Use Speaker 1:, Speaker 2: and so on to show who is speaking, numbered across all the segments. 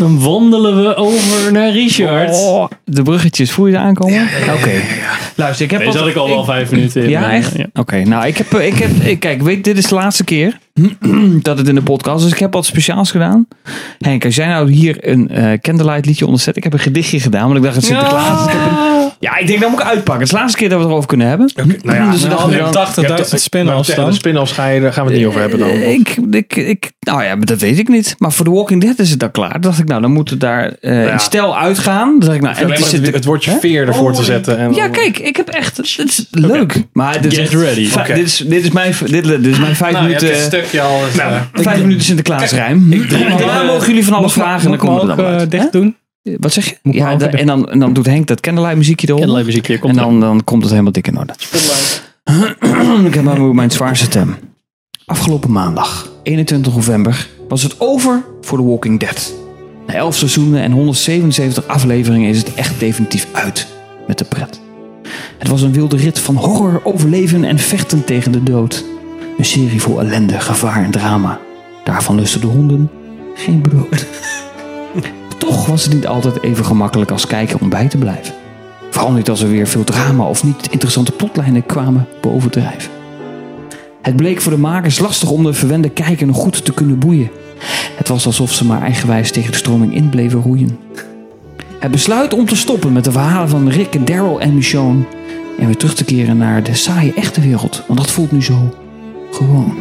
Speaker 1: Dan wandelen we over naar Richard.
Speaker 2: Oh, de bruggetjes, voel je ze aankomen? Oké. Luister, ik heb
Speaker 1: Deze
Speaker 2: al-
Speaker 1: had ik al wel vijf minuten in.
Speaker 2: Ja, echt? Oké, nou, ik heb, ik heb... ik- Kijk, weet, dit is de laatste keer dat het in de podcast is. Dus ik heb wat speciaals gedaan. Henk, als jij nou hier een eh, Candlelight liedje onderzet... Ik heb een gedichtje gedaan, want ik dacht het Sinterklaas...
Speaker 1: Ah.
Speaker 2: is. Ik heb een- Ja, ik denk dat moet ik uitpakken. Het is de laatste keer dat we het erover kunnen hebben.
Speaker 3: Nou ja,
Speaker 2: Dus
Speaker 3: nou,
Speaker 2: dan-
Speaker 3: je hebt
Speaker 2: dan-
Speaker 3: 80.000 spin-offs
Speaker 2: dus
Speaker 3: dan. spin-offs ga je, daar gaan we het niet over hebben
Speaker 4: Eh,
Speaker 3: dan.
Speaker 2: Ik, ik, ik, nou ja, maar dat weet ik niet. Maar voor The Walking Dead is het dan klaar. Dan dacht ik, nou, dan moet het daar eh
Speaker 3: Ja.
Speaker 2: in stijl uitgaan. Dan dacht ik, nou, en
Speaker 3: Het,
Speaker 2: het is
Speaker 3: het,
Speaker 2: het,
Speaker 3: het woordje veer ervoor
Speaker 4: Oh.
Speaker 3: te zetten. En
Speaker 2: Ja, kijk, ik heb echt. Het is leuk. Maar dit is,
Speaker 1: Get
Speaker 2: echt-
Speaker 1: ready.
Speaker 2: fi-
Speaker 3: Oké.
Speaker 2: dit, is, dit, is mijn, dit, dit is mijn vijf
Speaker 4: Nou,
Speaker 2: minuten.
Speaker 3: stukje al. eh, Nou,
Speaker 2: Vijf minuten Sinterklaasrijm. En daarna
Speaker 3: eh,
Speaker 2: mogen jullie van alles
Speaker 4: Moet ik-
Speaker 2: vragen en dan
Speaker 4: moet
Speaker 2: komen
Speaker 4: ik
Speaker 2: we er
Speaker 4: me
Speaker 2: dan
Speaker 4: ook,
Speaker 2: wel
Speaker 4: eh,
Speaker 2: uit.
Speaker 4: dicht doen?
Speaker 2: Hè? Wat zeg je?
Speaker 4: Moet ik
Speaker 2: Ja,
Speaker 4: me ook
Speaker 2: da-
Speaker 4: dicht-
Speaker 2: en, dan, en dan doet Henk dat candlelight muziekje erop.
Speaker 1: En muziekje
Speaker 2: En
Speaker 1: komt
Speaker 2: dan, dan komt het helemaal dik in orde. Ik heb mijn, mijn zwaarste stem. Afgelopen maandag, 21 november, was het over voor The Walking Dead. Na 11 seizoenen en 177 afleveringen is het echt definitief uit met de pret. Het was een wilde rit van horror, overleven en vechten tegen de dood. Een serie vol ellende, gevaar en drama. Daarvan lusten de honden geen brood. Toch was het niet altijd even gemakkelijk als kijken om bij te blijven. Vooral niet als er weer veel drama of niet interessante plotlijnen kwamen bovendrijven. Het bleek voor de makers lastig om de verwende kijker nog goed te kunnen boeien. Het was alsof ze maar eigenwijs tegen de stroming in bleven roeien. Het besluit om te stoppen met de verhalen van Rick, Daryl en Michonne en weer terug te keren naar de saaie echte wereld, want dat voelt nu zo gewoon.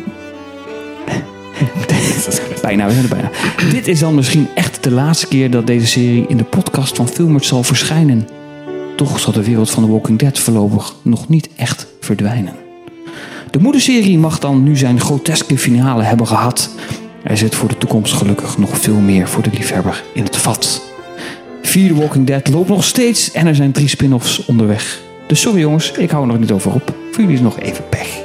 Speaker 2: bijna, we zijn er bijna. Dit is dan misschien echt de laatste keer dat deze serie in de podcast van Filmert zal verschijnen. Toch zal de wereld van The Walking Dead voorlopig nog niet echt verdwijnen. De moederserie mag dan nu zijn groteske finale hebben gehad. Er zit voor de toekomst gelukkig nog veel meer voor de liefhebber in het vat. Vier The Walking Dead loopt nog steeds en er zijn drie spin-offs onderweg. Dus sorry jongens, ik hou er nog niet over op. Voor jullie is nog even pech.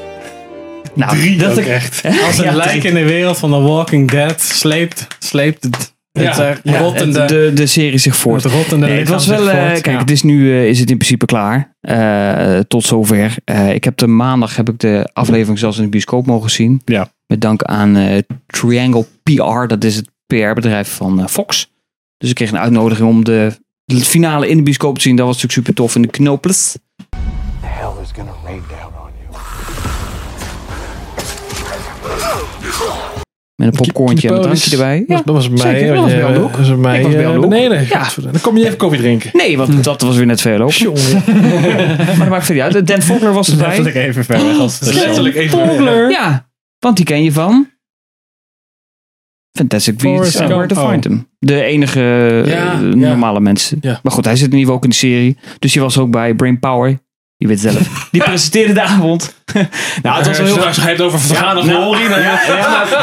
Speaker 2: Nou, dat ik
Speaker 3: echt.
Speaker 4: Als een
Speaker 2: Ja,
Speaker 4: lijk
Speaker 2: drie.
Speaker 4: in de wereld van The Walking Dead sleept, sleept het, het
Speaker 3: Ja,
Speaker 4: eh,
Speaker 3: ja,
Speaker 4: rottende,
Speaker 2: het- de, de serie zich voort.
Speaker 4: het rottende
Speaker 2: Nee, het
Speaker 4: lichaam
Speaker 2: was
Speaker 4: zich
Speaker 2: wel. eh,
Speaker 4: voort.
Speaker 2: kijk,
Speaker 4: Ja.
Speaker 2: het is nu eh, is het in principe klaar. Eh, tot zover. Eh, ik heb de maandag heb ik de aflevering zelfs in de bioscoop mogen zien.
Speaker 3: Ja.
Speaker 2: Met dank aan eh, Triangle PR. Dat is het PR-bedrijf van eh, Fox. Dus ik kreeg een uitnodiging om de, de finale in de bioscoop te zien. Dat was natuurlijk super tof in de Knoples.
Speaker 5: hell is gonna rain down on you.
Speaker 2: Met een popcorntje en een
Speaker 3: Knoples.
Speaker 2: drankje erbij.
Speaker 3: Dat was bij mij.
Speaker 2: zeker. Dat was bij Jan de Hoek.
Speaker 3: Dat was bij mij.
Speaker 2: Ik was bij Jan de
Speaker 3: eh,
Speaker 2: Hoek.
Speaker 3: Beneden.
Speaker 2: Ja.
Speaker 3: Godverdomme. Dan kom je even koffie drinken.
Speaker 2: Nee, want dat was weer net veel lopen.
Speaker 3: Jongen.
Speaker 2: Hm. Maar dat maakt verder niet uit. Dan Fogler was erbij.
Speaker 1: Letterlijk even ver weg als het
Speaker 3: Letterlijk even.
Speaker 2: Ja, want die ken je van. Fantastic Beasts
Speaker 3: Forrest
Speaker 2: and Where
Speaker 3: Gump.
Speaker 2: to Find Them. Oh. De enige eh,
Speaker 3: Ja,
Speaker 2: normale mensen.
Speaker 3: Ja.
Speaker 2: Maar goed, hij zit in ieder geval ook in de serie. Dus die was ook bij Brain Power. Je weet het zelf. Die presenteerde de avond. nou, het was wel heel Nou,
Speaker 3: Als je hebt over vergaande glorie, dan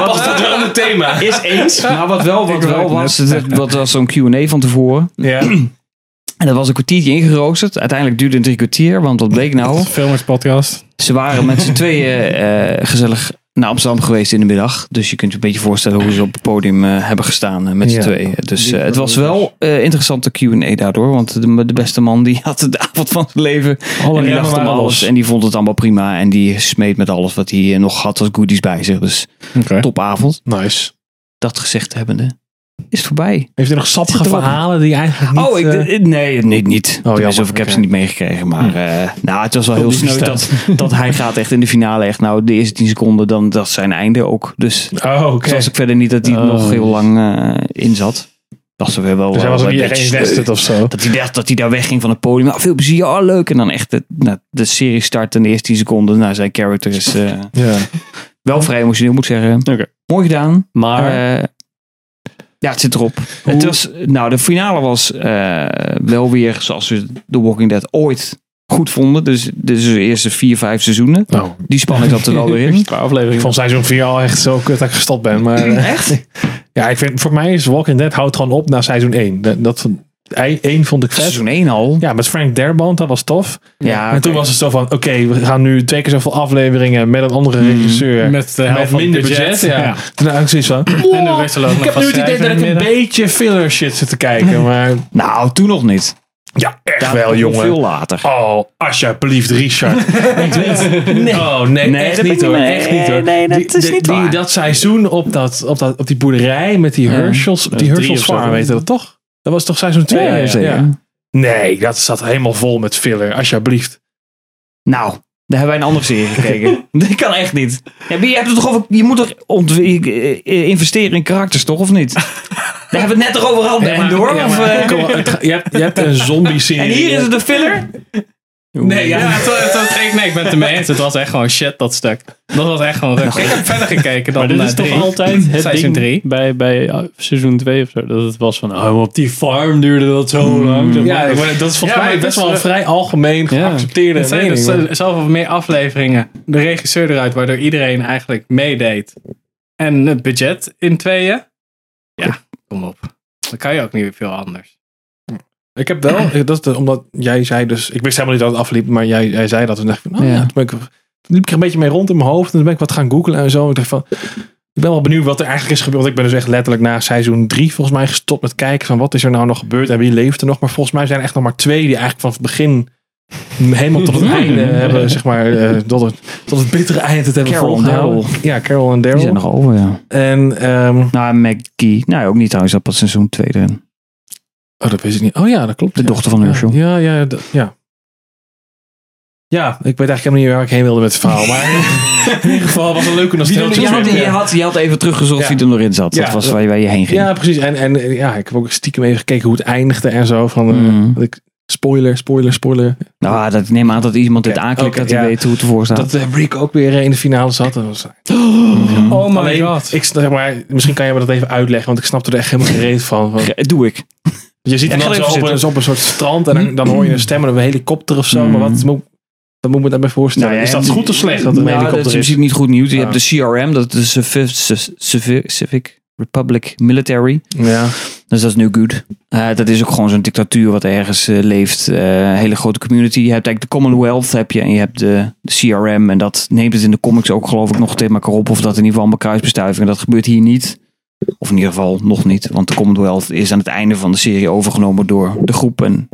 Speaker 3: past dat wel in het thema.
Speaker 2: Is eens. Maar Nou, wat wel, wat wel was, het- wat was zo'n Q&A van tevoren.
Speaker 3: Ja.
Speaker 2: En dat was een kwartiertje ingeroosterd. Uiteindelijk duurde het drie kwartier. Want wat bleek nou?
Speaker 4: Filmers podcast.
Speaker 2: Ze waren met z'n tweeën eh, gezellig naar Amsterdam geweest in de middag. Dus je kunt je een beetje voorstellen hoe ze op het podium eh, hebben gestaan eh, met z'n
Speaker 3: Ja.
Speaker 2: tweeën. Dus eh, het was wel eh, interessante Q&A daardoor. Want de, de beste man die had de avond van zijn leven. en die
Speaker 4: remmen
Speaker 2: lachte om
Speaker 4: waren
Speaker 2: alles. En die vond het allemaal prima. En die smeet met alles wat hij eh, nog had als goodies bij zich. Dus
Speaker 3: Oké.
Speaker 2: topavond.
Speaker 3: Nice.
Speaker 2: Dat gezegd hebbende is het voorbij.
Speaker 3: Heeft u nog sappige
Speaker 2: Zit erop.
Speaker 3: verhalen die eigenlijk niet...
Speaker 2: oh, ik,
Speaker 3: eh,
Speaker 2: eh, nee, niet. niet.
Speaker 3: Oh,
Speaker 2: Tenminste,
Speaker 3: jammer.
Speaker 2: of ik heb ze
Speaker 3: Oké. Hm. dus
Speaker 2: niet meegekregen. Maar eh, nou, het was wel heel
Speaker 4: die
Speaker 2: sneu dat, dat hij gaat echt in de finale. Echt, nou, de eerste 10 seconden, dan dat is zijn einde ook. Dus
Speaker 3: Oh, oké.
Speaker 2: zoals was ik verder niet dat hij
Speaker 4: Oh.
Speaker 2: nog heel lang eh, in zat. Was er weer wel.
Speaker 3: Dus hij
Speaker 2: wel
Speaker 3: was ook
Speaker 2: een
Speaker 3: niet
Speaker 2: beetje
Speaker 3: geïnvested
Speaker 2: sneu.
Speaker 3: of zo.
Speaker 2: Dat hij dacht dat hij daar wegging van het podium. Nou, veel plezier, oh, leuk. En dan echt de, nou, de serie start en de eerste 10 seconden. Nou, zijn character is eh,
Speaker 3: Ja.
Speaker 2: wel vrij emotioneel, moet ik zeggen.
Speaker 1: Oké.
Speaker 2: Mooi gedaan.
Speaker 3: Ah.
Speaker 1: Maar
Speaker 2: Eh, ja, het zit erop. Het was, nou, de finale was eh, wel weer zoals we The Walking Dead ooit goed vonden. Dus, dus de eerste vier, vijf seizoenen.
Speaker 3: Nou,
Speaker 2: Die spanning zat er wel weer in.
Speaker 1: qua
Speaker 3: ik
Speaker 1: aflevering.
Speaker 3: vond seizoen 4 al echt zo kut dat ik gestopt ben. Maar eh,
Speaker 2: Echt?
Speaker 3: ja, ik vind, voor mij is Walking Dead houdt gewoon op na seizoen 1. Dat, dat, 1 vond ik vet.
Speaker 2: Seizoen 1 al.
Speaker 3: Ja, met Frank Darabont, dat was tof.
Speaker 2: Ja,
Speaker 3: en toen was het zo van, oké, we gaan nu twee keer zoveel afleveringen met een andere regisseur.
Speaker 2: eh,
Speaker 4: Met de
Speaker 3: Mm, Met
Speaker 4: helft van het
Speaker 3: minder budget, ja. Toen had ik zoiets van,
Speaker 4: En de wisseloop
Speaker 3: ik heb nu het idee dat ik een beetje filler shit zit te kijken. Maar
Speaker 2: Nou, toen nog niet.
Speaker 3: Ja, echt
Speaker 2: Daar
Speaker 3: wel,
Speaker 2: nog
Speaker 3: jongen.
Speaker 2: Veel later.
Speaker 3: Oh, alsjeblieft, Richard. nee. Oh, nee,
Speaker 2: Nee,
Speaker 3: echt
Speaker 2: dat
Speaker 3: niet
Speaker 2: ben ik
Speaker 3: hoor.
Speaker 2: niet mee.
Speaker 3: Echt niet hoor.
Speaker 2: Nee, dat is niet waar.
Speaker 3: dat seizoen op, dat, op, dat, op die boerderij met die Herschels, die
Speaker 1: drie
Speaker 3: Herschels
Speaker 1: of zo.
Speaker 3: farm, weet je dat toch? Dat was toch seizoen 2?
Speaker 2: Ja, zeker.
Speaker 3: Nee, dat zat helemaal vol met filler, alsjeblieft.
Speaker 2: Nou, daar hebben wij een andere serie gekeken. dat kan echt niet. Ja, maar je, hebt het toch over, je moet toch ontw- eh, eh, investeren in karakters, toch? Of niet? daar hebben we het net toch over gehad, Ben, hoor.
Speaker 3: Ja,
Speaker 2: of,
Speaker 3: maar
Speaker 2: eh,
Speaker 3: kom op, het ga- je, hebt, je hebt een zombie-serie.
Speaker 2: en hier is het de filler?
Speaker 4: Nee, ja, het, was- het was- ik, nee, ik ben het ermee eens.
Speaker 1: Het was echt gewoon shit, dat stuk.
Speaker 4: Dat was echt gewoon ruk. Ik heb verder gekeken dan
Speaker 1: Maar dit
Speaker 4: eh,
Speaker 1: is toch
Speaker 4: drie.
Speaker 1: altijd het
Speaker 4: Seizoen
Speaker 1: ding
Speaker 4: drie.
Speaker 1: bij, bij ah, seizoen 2 of zo. Dat het was van, oh, op die farm duurde dat
Speaker 4: Hmm.
Speaker 1: zo lang. zeg maar.
Speaker 4: Mm. Ja, maar dat is volgens mij best wel een
Speaker 3: vrij algemeen
Speaker 4: geaccepteerde Het zijn
Speaker 3: mening,
Speaker 4: dus zoveel meer afleveringen. De regisseur eruit, waardoor iedereen eigenlijk meedeed. En het budget in tweeën. Ja, kom op. Dan kan je ook niet veel anders.
Speaker 3: Ik heb wel, eh, dat is de- omdat jij zei dus, ik wist helemaal niet dat het afliep, maar jij, jij zei dat. En dacht ik van, oh ja.
Speaker 2: Ja.
Speaker 3: toen ben ik, toen liep ik er een beetje mee rond in mijn hoofd. En toen ben ik wat gaan googlen en zo. En ik dacht van, ik ben wel benieuwd wat er eigenlijk is gebeurd. Want Ik ben dus echt letterlijk na seizoen drie volgens mij gestopt met kijken van wat is er nou nog gebeurd en wie leeft er nog. Maar volgens mij zijn er echt nog maar twee die eigenlijk van het begin helemaal tot het einde
Speaker 2: Hmm.
Speaker 3: hebben, zeg maar, eh, tot, het, tot het bittere eind het hebben
Speaker 2: Carol en
Speaker 3: volgehouden.
Speaker 2: Daryl.
Speaker 3: Ja, Carol en
Speaker 2: Die zijn
Speaker 3: Daryl.
Speaker 2: nog over, ja.
Speaker 3: En, ehm,
Speaker 2: Nou, en Maggie. Nou, ook niet trouwens. Dat pas seizoen 2 erin.
Speaker 3: oh dat wist ik niet. Oh ja, dat klopt.
Speaker 2: De
Speaker 3: ja.
Speaker 2: dochter van
Speaker 3: Ja,
Speaker 2: Herschel.
Speaker 3: Ja, ja, d- ja. Ja, ik weet eigenlijk helemaal niet waar ik heen wilde met het verhaal. Maar in ieder geval was het een leuke nostalgie.
Speaker 2: Je had, je, had, je had even teruggezocht
Speaker 3: Ja.
Speaker 2: wie er nog in zat. Dat
Speaker 3: Ja.
Speaker 2: was waar je, waar je heen ging.
Speaker 3: Ja, precies. En, en eh, ja, ik heb ook stiekem even gekeken hoe het eindigde en zo. Van, eh,
Speaker 2: Mhm.
Speaker 3: dat ik, spoiler, spoiler, spoiler.
Speaker 2: Nou, dat, ik neem aan dat iemand dit
Speaker 3: Oké,
Speaker 2: aanklikt.
Speaker 3: oké,
Speaker 2: dat hij
Speaker 3: ja.
Speaker 2: weet hoe het ervoor staat.
Speaker 3: Dat eh, Rick ook weer eh, in de finale zat. Dat was,
Speaker 4: Oh my
Speaker 3: Alleen,
Speaker 4: god.
Speaker 3: Ik, snap- zeg maar, misschien kan jij me dat even uitleggen, want ik snapte er echt helemaal geen reet van. Want
Speaker 2: Ge- Doe ik.
Speaker 3: je ziet
Speaker 2: Ja,
Speaker 3: hem
Speaker 2: ik ga
Speaker 3: dan zo
Speaker 2: even
Speaker 3: op, een-
Speaker 2: zitten.
Speaker 3: zo op een soort strand en dan, dan hoor je een stem en een helikopter of zo.
Speaker 2: Mhm.
Speaker 3: Maar wat moet, wat moet ik me daarbij voorstellen?
Speaker 2: Nou ja,
Speaker 3: is dat
Speaker 2: en-
Speaker 3: goed of slecht dat er een
Speaker 2: Nou, dat
Speaker 3: helikopter
Speaker 2: is
Speaker 3: is?
Speaker 2: misschien niet goed nieuws. Je
Speaker 3: Ja.
Speaker 2: hebt de CRM, dat is de Civi- Civ- Civi- Civic Republic Military.
Speaker 3: Ja.
Speaker 2: Dus dat is nu goed. Eh, dat is ook gewoon zo'n dictatuur wat ergens eh, leeft. Eh, een hele grote community. Je hebt eigenlijk de Commonwealth heb je en je hebt de, de CRM. En dat neemt het in de comics ook geloof ik nog tegen elkaar op. Of dat in ieder geval allemaal kruisbestuivingen. Dat gebeurt hier niet. Of in ieder geval nog niet. Want de Commonwealth is aan het einde van de serie overgenomen door de groep. En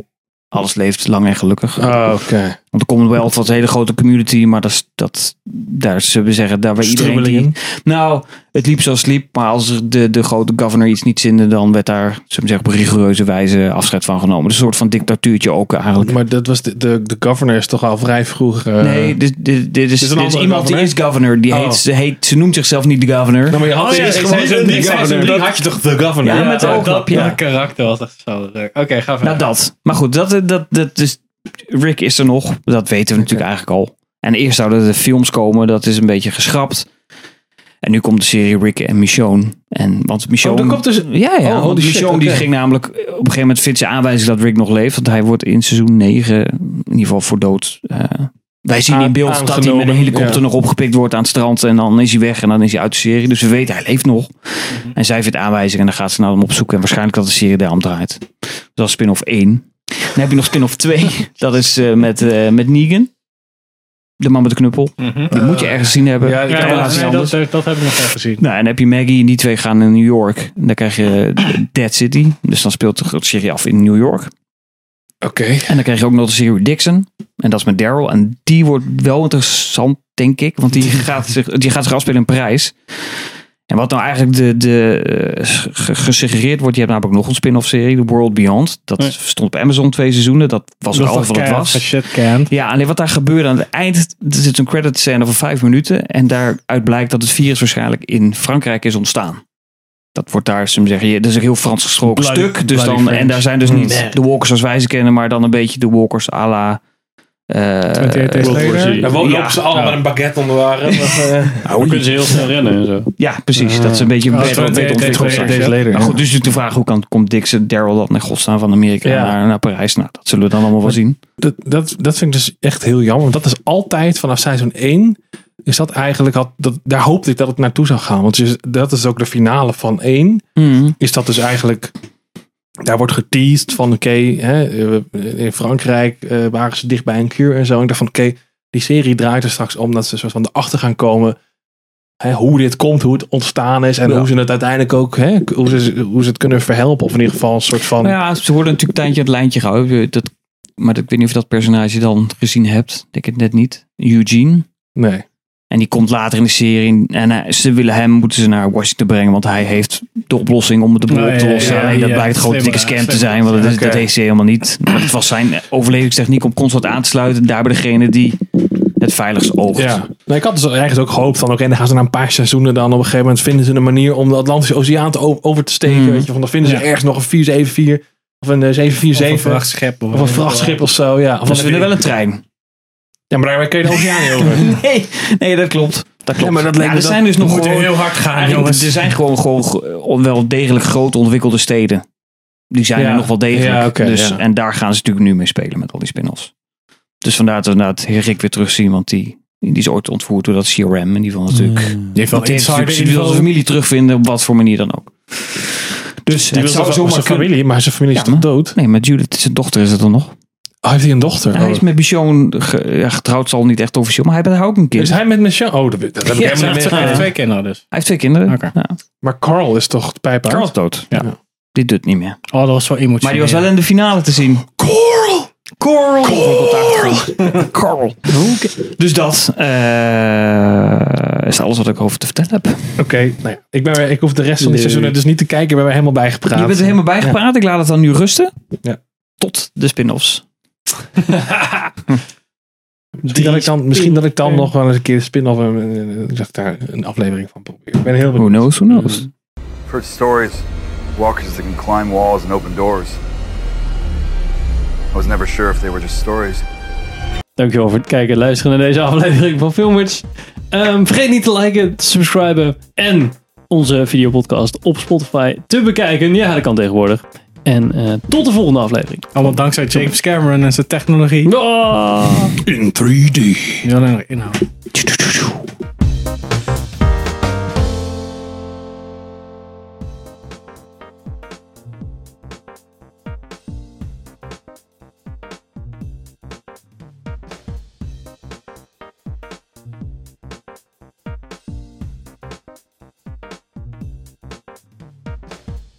Speaker 2: alles leeft lang en gelukkig.
Speaker 3: Oh, oké.
Speaker 2: Want de Commonwealth was een hele grote community, maar dat, is- dat daar zullen we zeggen, daar waar iedereen die...
Speaker 3: Strubbelingen.
Speaker 2: Nou, het liep zoals het liep, maar als er de, de grote governor iets niet zinde, dan werd daar, zullen we zeggen, op rigoureuze wijze afscheid van genomen. Dus een soort van dictatuurtje ook eigenlijk.
Speaker 3: Maar dat was de, de, de governor is toch al vrij vroeg. eh,
Speaker 2: Nee, dit, dit, dit is,
Speaker 3: is een
Speaker 2: dit is
Speaker 3: andere
Speaker 2: iemand die is
Speaker 3: governor.
Speaker 2: governor. Die
Speaker 3: Oh.
Speaker 2: heet, ze, heet, ze noemt zichzelf niet de governor.
Speaker 3: Nou, maar je had
Speaker 4: Oh ja,
Speaker 3: eerst
Speaker 4: ik
Speaker 3: gewoon
Speaker 4: zei
Speaker 3: de
Speaker 4: zo'n ding,
Speaker 3: governor.
Speaker 4: zei zo'n
Speaker 3: Dat
Speaker 4: ding.
Speaker 3: had je toch de governor?
Speaker 2: Ja, met de
Speaker 4: dat,
Speaker 2: oogkap,
Speaker 4: dat,
Speaker 2: ja.
Speaker 4: dat karakter was echt zo ruk. Oké, ga verder.
Speaker 2: Nou, dat. Maar goed, dat, dat, dat is, Rick is er nog. Dat weten we natuurlijk eigenlijk al. En eerst zouden de films komen. Dat is een beetje geschrapt. En nu komt de serie Rick en Michonne. En, want Michonne...
Speaker 3: Oh, er komt dus-
Speaker 2: Ja, ja.
Speaker 3: Oh,
Speaker 2: want
Speaker 3: holy shit,
Speaker 2: Michonne die
Speaker 3: oké.
Speaker 2: ging namelijk... Op een gegeven moment vindt ze aanwijzing dat Rick nog leeft. Want hij wordt in seizoen 9 in ieder geval voor dood... eh, wij zien
Speaker 3: Aan-
Speaker 2: in beeld dat hij met een
Speaker 3: aangenomen,
Speaker 2: helikopter
Speaker 3: ja.
Speaker 2: nog opgepikt wordt aan het strand. En dan is hij weg en dan is hij uit de serie. Dus we weten, hij leeft nog. En zij vindt aanwijzingen en dan gaat ze naar hem opzoeken. En waarschijnlijk dat de serie daar om draait. Dus dat is spin-off 1. Dan heb je nog spin-off 2. Dat is eh, met, eh, met Negan. De man met de knuppel.
Speaker 1: Mhm.
Speaker 2: Die moet je ergens gezien hebben.
Speaker 1: Ja,
Speaker 3: ja,
Speaker 2: Ah. Kan
Speaker 1: dat-
Speaker 2: helaas
Speaker 1: nee,
Speaker 2: niet
Speaker 1: dat,
Speaker 2: anders.
Speaker 1: dat, dat heb ik nog even gezien.
Speaker 2: Nou, en dan heb je Maggie en die twee gaan naar New York. En dan krijg je eh, Dead City. Dus dan speelt de serie af in New York.
Speaker 3: Oké.
Speaker 2: En dan krijg je ook nog de serie Dixon. En dat is met Daryl. En die wordt wel interessant, denk ik. Want die gaat zich, die gaat zich afspelen in Parijs. En wat nou eigenlijk de, de, eh, ge- gesuggereerd wordt. Je hebt namelijk nog een spin-off serie. The World Beyond. Dat
Speaker 1: Ja.
Speaker 2: stond op Amazon twee seizoenen. Dat was ook alles wat het was.
Speaker 4: Shit kent.
Speaker 2: Ja, alleen wat daar gebeurde aan het eind. Er zit een credit scène van vijf minuten. En daaruit blijkt dat het virus waarschijnlijk in Frankrijk is ontstaan. Dat wordt daar, ze zeggen, je- dat is een heel Frans gesproken
Speaker 1: Bloody-
Speaker 2: stuk. Dus
Speaker 1: bloody
Speaker 2: dan, en
Speaker 1: French.
Speaker 2: daar zijn dus
Speaker 3: Hmm.
Speaker 2: niet de walkers zoals wij ze kennen, maar dan een beetje de walkers à la. eh,
Speaker 4: 28
Speaker 1: World
Speaker 4: days
Speaker 1: War
Speaker 4: later.
Speaker 1: Z.
Speaker 3: En
Speaker 2: Ja.
Speaker 3: wat lopen ze allemaal met een baguette onder de arm? Of, eh,
Speaker 1: Dan kunnen ze heel snel rennen en zo.
Speaker 2: ja, precies. Eh, dat is een beetje
Speaker 4: Ah,
Speaker 2: beter,
Speaker 4: 28
Speaker 2: beter
Speaker 4: days
Speaker 2: ontwikkeld.
Speaker 4: later.
Speaker 2: straks. Maar goed, dus natuurlijk de vraag hoe kan, komt Dixon Daryl dat naar godsnaam van Amerika
Speaker 3: Ja.
Speaker 2: naar, naar Parijs? Nou, dat zullen we dan allemaal wel zien.
Speaker 3: dat, dat, dat vind ik dus echt heel jammer. Want dat is altijd vanaf seizoen 1. Is dat eigenlijk, had, dat, daar hoopte ik dat het naartoe zou gaan. Want je- dat is ook de finale van 1.
Speaker 2: Mhm.
Speaker 3: is dat dus eigenlijk. Daar wordt geteased van oké, hè, eh, in Frankrijk eh, waren ze dicht bij een kuur en zo. En ik dacht van oké, die serie draait er straks om dat ze een soort van erachter gaan komen. Hè, hoe dit komt, hoe het ontstaan is en hoe ze het uiteindelijk ook, hè, hoe, ze, hoe ze het kunnen verhelpen. Of in ieder geval een soort van.
Speaker 2: Nou ja, ze worden natuurlijk een tijdje het lijntje gehouden. Dat maar ik weet niet of je dat personage dan gezien hebt. Ik denk het net niet. Eugene.
Speaker 3: Nee.
Speaker 2: En die komt later in de serie. En eh, ze willen hem, moeten ze naar Washington brengen. Want hij heeft de oplossing om het de boel
Speaker 4: Oh,
Speaker 2: op te
Speaker 4: ja,
Speaker 2: lossen.
Speaker 4: ja, ja,
Speaker 2: Alleen dat
Speaker 4: ja. eh,
Speaker 2: blijkt gewoon een dikke
Speaker 4: Slimme,
Speaker 2: scam te
Speaker 4: slimme.
Speaker 2: zijn. Want dat, is, dat
Speaker 3: Oké.
Speaker 2: heeft ze helemaal niet. Het was zijn overlevingstechniek om constant aan te sluiten. Daar bij degene die het veiligst oogt.
Speaker 3: Ja. Nee, ik had dus ergens ook gehoopt van, oké, dan gaan ze na een paar seizoenen dan op een gegeven moment vinden ze een manier om de Atlantische Oceaan te o- over te steken.
Speaker 2: Mm.
Speaker 3: Weet je, van dan vinden ze
Speaker 4: Ja.
Speaker 3: ergens nog een 474 of een eh, 747
Speaker 4: een vrachtschip.
Speaker 3: of een vrachtschip of zo. Ja, of
Speaker 2: Want ze
Speaker 3: een-
Speaker 2: willen wel een trein.
Speaker 3: ja maar daar kun je de oceaan niet over.
Speaker 2: Nee, nee, dat klopt. Dat klopt.
Speaker 3: Ja, maar dat leek
Speaker 2: Ja,
Speaker 3: me
Speaker 2: er
Speaker 3: dat-
Speaker 2: zijn dus
Speaker 4: We
Speaker 2: nog
Speaker 4: moeten
Speaker 2: gewoon
Speaker 4: heel hard gaan,
Speaker 2: Eigenlijk,
Speaker 4: jongens.
Speaker 2: er zijn gewoon, gewoon ge- wel degelijk grote ontwikkelde steden. Die zijn
Speaker 3: Ja.
Speaker 2: er nog wel degelijk.
Speaker 3: Ja, oké,
Speaker 2: dus,
Speaker 3: ja.
Speaker 2: En daar gaan ze natuurlijk nu mee spelen met al die spin-offs. Dus vandaar dat we inderdaad Rick weer terugzien. Want die, die is ooit ontvoerd door dat CRM. En die wil natuurlijk...
Speaker 3: Hmm.
Speaker 4: Die heeft
Speaker 2: Want die heeft natuurlijk- die wil zijn
Speaker 4: info.
Speaker 2: familie terugvinden op wat voor manier dan ook. Dus
Speaker 3: Die
Speaker 2: het
Speaker 3: wil
Speaker 2: zou
Speaker 3: wel
Speaker 2: zomaar
Speaker 3: zijn
Speaker 2: kunnen-
Speaker 3: familie, maar zijn familie
Speaker 2: Ja,
Speaker 3: is toch
Speaker 2: maar-
Speaker 3: dood?
Speaker 2: Nee, maar Judith, zijn dochter is het dan nog.
Speaker 3: Oh, heeft hij een dochter?
Speaker 2: Hij is met Bichon ge- ja, getrouwd, zal niet echt officieel. Maar hij heeft haar ook een kind.
Speaker 3: Is hij met Michelle? Oh, dat, dat heb ik
Speaker 2: Ja,
Speaker 3: helemaal
Speaker 4: Ze
Speaker 3: niet
Speaker 4: heeft
Speaker 3: meer.
Speaker 4: twee kinderen dus.
Speaker 2: Hij heeft twee kinderen.
Speaker 4: Oké.
Speaker 2: Ja.
Speaker 3: Maar Carl is toch pijp
Speaker 2: Carl is
Speaker 3: uit?
Speaker 2: dood.
Speaker 4: Ja.
Speaker 2: Dit doet niet meer.
Speaker 4: Oh, dat was wel emotioneel.
Speaker 2: Maar die was wel in de finale te zien.
Speaker 3: Carl!
Speaker 2: Coral. Coral. Coral. Dus dat eh, is alles wat ik over te vertellen heb.
Speaker 3: Oké, nou ja, ik, ben weer- ik hoef de rest van die seizoenen dus niet te kijken. Ik ben weer helemaal bijgepraat.
Speaker 2: Je bent er helemaal bijgepraat. Ik laat het dan nu rusten.
Speaker 3: Ja.
Speaker 2: Tot de spin-offs.
Speaker 3: Misschien dat ik dan, misschien dat ik dan nog wel eens een keer de spin-off en, eh, eh, ik zeg daar een aflevering van probeer. Ik ben
Speaker 2: Who
Speaker 3: heel benieuwd.
Speaker 2: knows, who knows.
Speaker 6: I've heard stories. Walkers that can climb walls and open doors. I was never sure if they were just stories.
Speaker 1: Dankjewel voor het kijken en luisteren naar deze aflevering van Filmers. Ehm, vergeet niet te liken, te subscriben en onze videopodcast op Spotify te bekijken. Ja, dat kan tegenwoordig. En eh, tot de volgende aflevering.
Speaker 4: Allemaal dankzij James Cameron en zijn technologie.
Speaker 1: Ah!
Speaker 3: In 3D.
Speaker 4: Die wil er nog inhouden.
Speaker 2: Tjoe, tjoe, tjoe, tjoe.